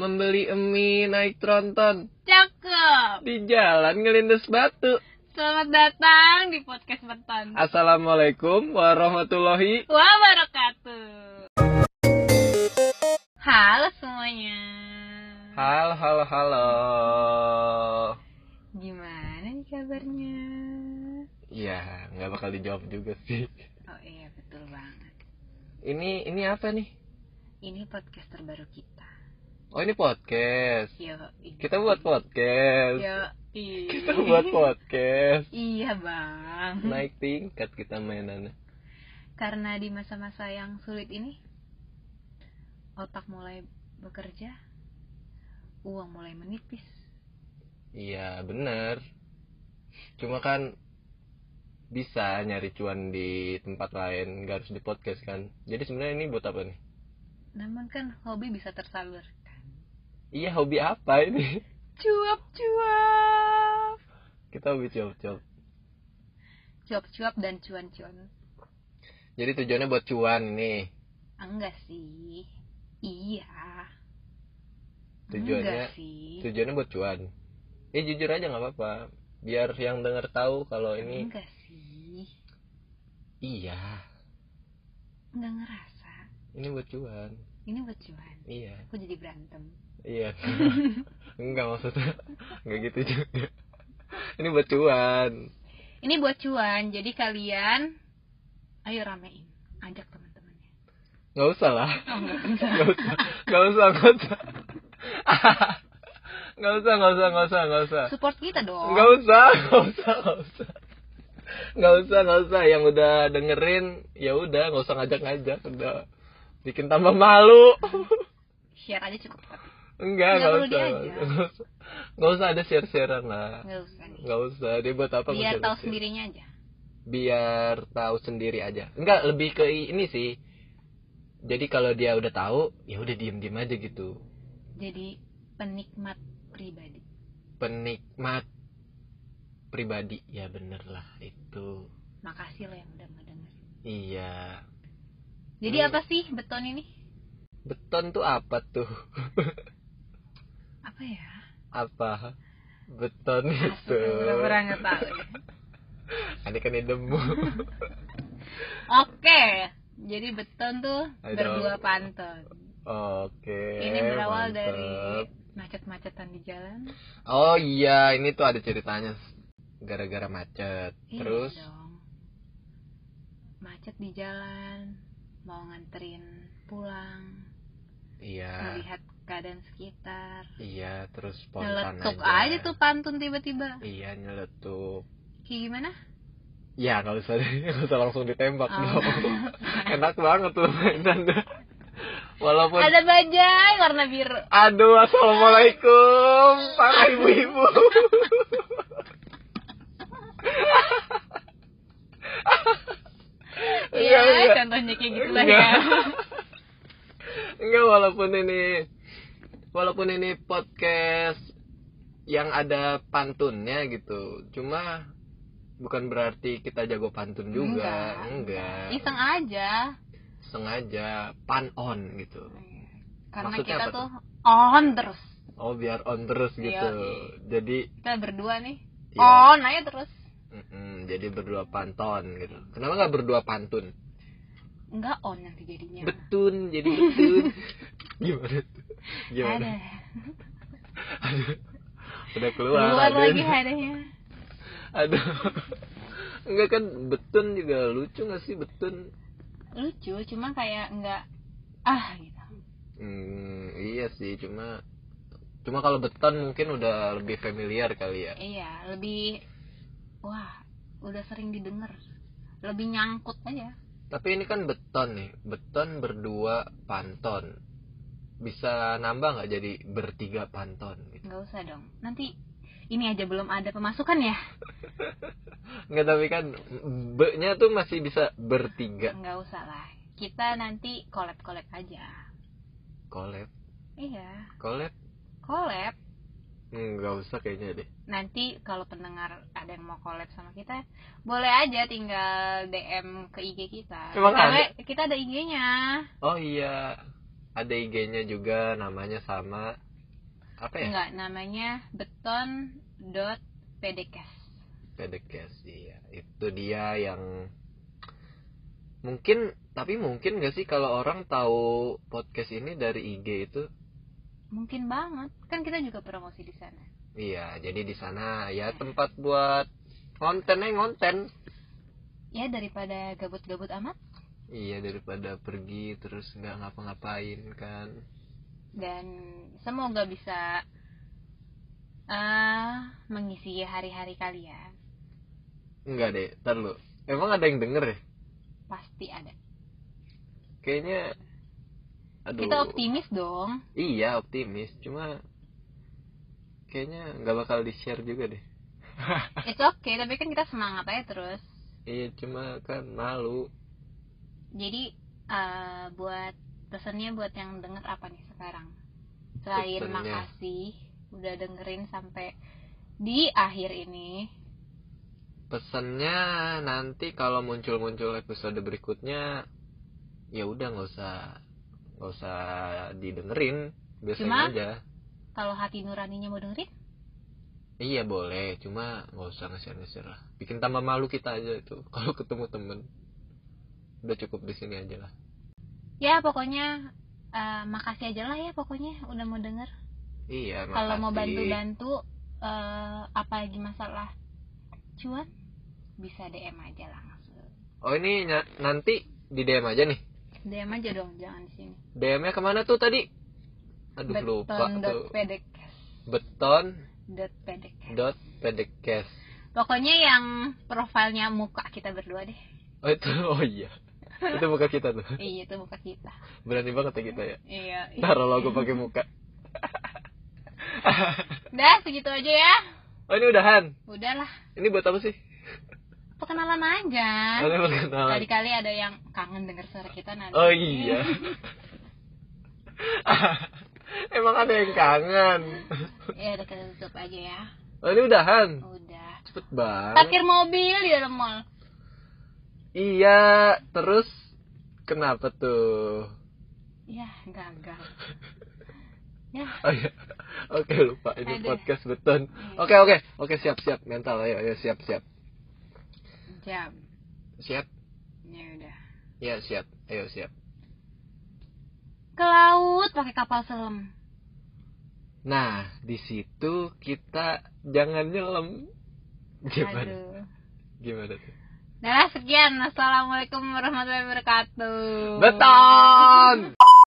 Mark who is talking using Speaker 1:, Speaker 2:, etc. Speaker 1: Membeli mie naik tronton.
Speaker 2: Cakep.
Speaker 1: Di jalan ngelindes batu.
Speaker 2: Selamat datang di podcast Beton.
Speaker 1: Assalamualaikum warahmatullahi.
Speaker 2: Wabarakatuh. Halo semuanya.
Speaker 1: Halo, halo, halo.
Speaker 2: Gimana nih kabarnya?
Speaker 1: Ya, nggak bakal dijawab juga sih.
Speaker 2: Oh iya betul banget.
Speaker 1: Ini ini apa nih?
Speaker 2: Ini podcast terbaru kita.
Speaker 1: Oh ini podcast.
Speaker 2: Yo.
Speaker 1: Kita buat podcast.
Speaker 2: Yo.
Speaker 1: Kita buat podcast.
Speaker 2: Iya bang.
Speaker 1: Naik tingkat kita mainannya.
Speaker 2: Karena di masa-masa yang sulit ini, otak mulai bekerja, uang mulai menipis.
Speaker 1: Iya bener Cuma kan bisa nyari cuan di tempat lain nggak harus di podcast kan jadi sebenarnya ini buat apa nih
Speaker 2: Namun kan hobi bisa tersalurkan.
Speaker 1: iya hobi apa ini
Speaker 2: Cuap-cuap.
Speaker 1: kita hobi cuap-cuap
Speaker 2: Cuap-cuap dan cuan-cuan.
Speaker 1: jadi tujuannya buat cuan nih
Speaker 2: Ah, Enggak sih. Iya.
Speaker 1: Tujuannya-
Speaker 2: Enggak sih.
Speaker 1: tujuannya buat cuan eh jujur aja nggak apa-apa biar yang denger tahu kalau ini
Speaker 2: Enggak sih.
Speaker 1: iya
Speaker 2: Enggak ngerasa.
Speaker 1: ini buat cuan
Speaker 2: Ini buat cuan.
Speaker 1: iya
Speaker 2: Aku jadi berantem.
Speaker 1: iya enggak maksudnya enggak gitu juga ini buat cuan
Speaker 2: Ini buat cuan. Jadi kalian ayo ramein. Ajak teman-temannya.
Speaker 1: nggak usah lah
Speaker 2: Oh, enggak bisa.
Speaker 1: Gak usah, gak usah, gak usah. Gak usah, gak usah, gak usah, gak usah.
Speaker 2: Support kita dong.
Speaker 1: Gak usah, gak usah, gak usah. Gak usah, gak usah. Yang udah dengerin, ya udah, gak usah ngajak-ngajak. Udah bikin tambah malu.
Speaker 2: Share aja cukup tapi.
Speaker 1: Enggak,
Speaker 2: Nggak
Speaker 1: gak
Speaker 2: perlu
Speaker 1: usah.
Speaker 2: diajak.
Speaker 1: Gak usah, Nggak usah ada share-sharean lah.
Speaker 2: Enggak usah nih.
Speaker 1: Gak usah, dia buat apa?
Speaker 2: Biar
Speaker 1: nge-share-share?
Speaker 2: tahu sendirinya aja.
Speaker 1: biar tahu sendiri aja enggak lebih ke ini sih jadi kalau dia udah tahu ya udah diem diem aja gitu
Speaker 2: Jadi penikmat pribadi.
Speaker 1: penikmat pribadi ya bener lah itu
Speaker 2: Makasih lo yang udah ngedengerin.
Speaker 1: iya
Speaker 2: Jadi
Speaker 1: Hmm.
Speaker 2: apa sih beton ini?
Speaker 1: beton tuh apa tuh
Speaker 2: Apa ya?
Speaker 1: apa beton itu
Speaker 2: Kurang ya. nggak tahu. deh.
Speaker 1: ada kan idemu
Speaker 2: Oke. Jadi beton tuh
Speaker 1: Ayo
Speaker 2: berdua
Speaker 1: dong.
Speaker 2: pantun.
Speaker 1: oke
Speaker 2: Ini berawal
Speaker 1: mantap.
Speaker 2: dari macet-macetan di jalan.
Speaker 1: oh iya ini tuh ada ceritanya gara-gara macet
Speaker 2: Iya
Speaker 1: terus
Speaker 2: dong. Macet di jalan, mau nganterin pulang,
Speaker 1: iya
Speaker 2: melihat keadaan sekitar.
Speaker 1: Iya, terus spontan
Speaker 2: Meletup aja. tuh pantun tiba-tiba.
Speaker 1: Iya, nyeletuk.
Speaker 2: Kayak gimana?
Speaker 1: Ya, nggak usah, nggak usah langsung ditembak
Speaker 2: Oh.
Speaker 1: dong. Enak banget tuh mainan. Walaupun
Speaker 2: Ada bajai warna biru.
Speaker 1: aduh assalamualaikum para ibu-ibu.
Speaker 2: Iya,
Speaker 1: Enggak, enggak.
Speaker 2: contohnya kayak gitu lah
Speaker 1: Enggak.
Speaker 2: ya.
Speaker 1: Enggak walaupun ini walaupun ini podcast yang ada pantunnya gitu. Cuma bukan berarti kita jago pantun juga. Enggak.
Speaker 2: Iseng aja.
Speaker 1: Sengaja pan on gitu.
Speaker 2: Karena
Speaker 1: Maksudnya
Speaker 2: kita
Speaker 1: apa
Speaker 2: tuh on terus.
Speaker 1: Oh, biar on terus
Speaker 2: Iya,
Speaker 1: gitu.
Speaker 2: Yoi.
Speaker 1: Jadi
Speaker 2: Kita berdua nih.
Speaker 1: Iya.
Speaker 2: On aja terus.
Speaker 1: mm-mm, jadi berdua panton gitu. Kenapa nggak berdua pantun?
Speaker 2: Enggak on nanti jadinya.
Speaker 1: Betun, jadi betun. Gimana tuh? Gimana?
Speaker 2: Ada.
Speaker 1: Udah keluar.
Speaker 2: Keluar
Speaker 1: Aden.
Speaker 2: lagi adanya.
Speaker 1: Aduh. Enggak kan betun juga lucu gak sih betun?
Speaker 2: Lucu, cuma kayak enggak ah gitu.
Speaker 1: Hmm, iya sih, cuma cuma kalau beton mungkin udah lebih familiar kali ya.
Speaker 2: Iya, lebih wah, udah sering didengar. Lebih nyangkut aja.
Speaker 1: Tapi ini kan beton nih, beton berdua panton. Bisa nambah nggak jadi bertiga panton gitu?
Speaker 2: Enggak usah dong. Nanti ini aja belum ada pemasukan ya?
Speaker 1: Enggak tapi kan be-nya tuh masih bisa bertiga.
Speaker 2: Enggak usah lah. Kita nanti collab-collab aja.
Speaker 1: Collab,
Speaker 2: Iya,
Speaker 1: collab
Speaker 2: collab.
Speaker 1: nggak usah kayaknya deh.
Speaker 2: nanti kalau pendengar ada yang mau collab sama kita boleh aja tinggal DM ke IG kita
Speaker 1: Emang
Speaker 2: Karena kita ada IG-nya
Speaker 1: Oh iya, ada IG-nya juga namanya sama apa ya?
Speaker 2: Enggak, namanya beton.pdcast.
Speaker 1: Pedekes iya itu dia yang mungkin tapi mungkin gak sih kalau orang tahu podcast ini dari IG itu
Speaker 2: Mungkin banget. Kan kita juga promosi di sana.
Speaker 1: iya jadi di sana ya tempat buat kontennya ngonten
Speaker 2: Ya, daripada gabut-gabut amat
Speaker 1: iya daripada pergi terus nggak ngapa-ngapain kan
Speaker 2: dan semoga bisa eh mengisi hari-hari kalian.
Speaker 1: enggak deh ntar lu emang ada yang denger ya
Speaker 2: Pasti ada.
Speaker 1: kayaknya aduh
Speaker 2: Kita optimis dong.
Speaker 1: iya optimis cuma kayaknya nggak bakal di share juga deh
Speaker 2: It's okay, tapi kan kita semangat aja terus.
Speaker 1: iya cuma kan malu
Speaker 2: Jadi eh buat pesannya buat yang denger apa nih sekarang? Selain
Speaker 1: Pesannya.
Speaker 2: makasih udah dengerin sampai di akhir ini.
Speaker 1: pesannya nanti kalau muncul-muncul episode berikutnya ya udah nggak usah nggak usah didengerin biasain
Speaker 2: Cuma?
Speaker 1: aja
Speaker 2: Kalau hati nuraninya mau dengerin,
Speaker 1: iya boleh cuma nggak usah nge-share nge-share lah bikin tambah malu kita aja itu kalau ketemu temen udah cukup di sini aja lah
Speaker 2: ya pokoknya eh, makasih aja lah ya pokoknya udah mau denger.
Speaker 1: iya
Speaker 2: Kalau mau
Speaker 1: makasih.
Speaker 2: bantu-bantu eh, apalagi masalah cuan bisa DM aja langsung.
Speaker 1: oh ini nya- nanti di DM aja nih
Speaker 2: DM aja dong, jangan di sini.
Speaker 1: DM-nya kemana tuh tadi aduh lupa tuh
Speaker 2: Beton.pedekes.
Speaker 1: beton
Speaker 2: .pedekes.
Speaker 1: dot pedekes
Speaker 2: Pokoknya yang profilnya muka kita berdua deh.
Speaker 1: oh itu oh iya itu muka kita tuh
Speaker 2: Iya, itu muka kita.
Speaker 1: berani banget ya kita ya
Speaker 2: Iya.
Speaker 1: taruh logo pakai muka
Speaker 2: Udah, segitu aja ya.
Speaker 1: oh ini udahan
Speaker 2: Udahlah.
Speaker 1: ini buat apa sih
Speaker 2: Perkenalan aja.
Speaker 1: oh, ini perkenalan
Speaker 2: Tadi kali ada yang kangen denger suara kita nanti.
Speaker 1: oh iya emang ada yang kangen
Speaker 2: Ya, udah kita tutup aja ya.
Speaker 1: oh ini udahan
Speaker 2: Udah.
Speaker 1: cepet banget
Speaker 2: Parkir mobil di dalam mall.
Speaker 1: iya terus kenapa tuh
Speaker 2: Ya, gagal. Ya,
Speaker 1: oh iya oke lupa ini
Speaker 2: Aduh. Iya.
Speaker 1: podcast beton oke oke oke siap siap mental ayo ayo siap siap
Speaker 2: jam.
Speaker 1: siap
Speaker 2: Ya udah.
Speaker 1: ya siap ayo siap
Speaker 2: Ke laut pakai kapal selam.
Speaker 1: Nah, di situ kita jangan nyelam. Gimana?
Speaker 2: Aduh.
Speaker 1: Gimana tuh?
Speaker 2: Nah, sekian. Assalamualaikum warahmatullahi wabarakatuh.
Speaker 1: Beton!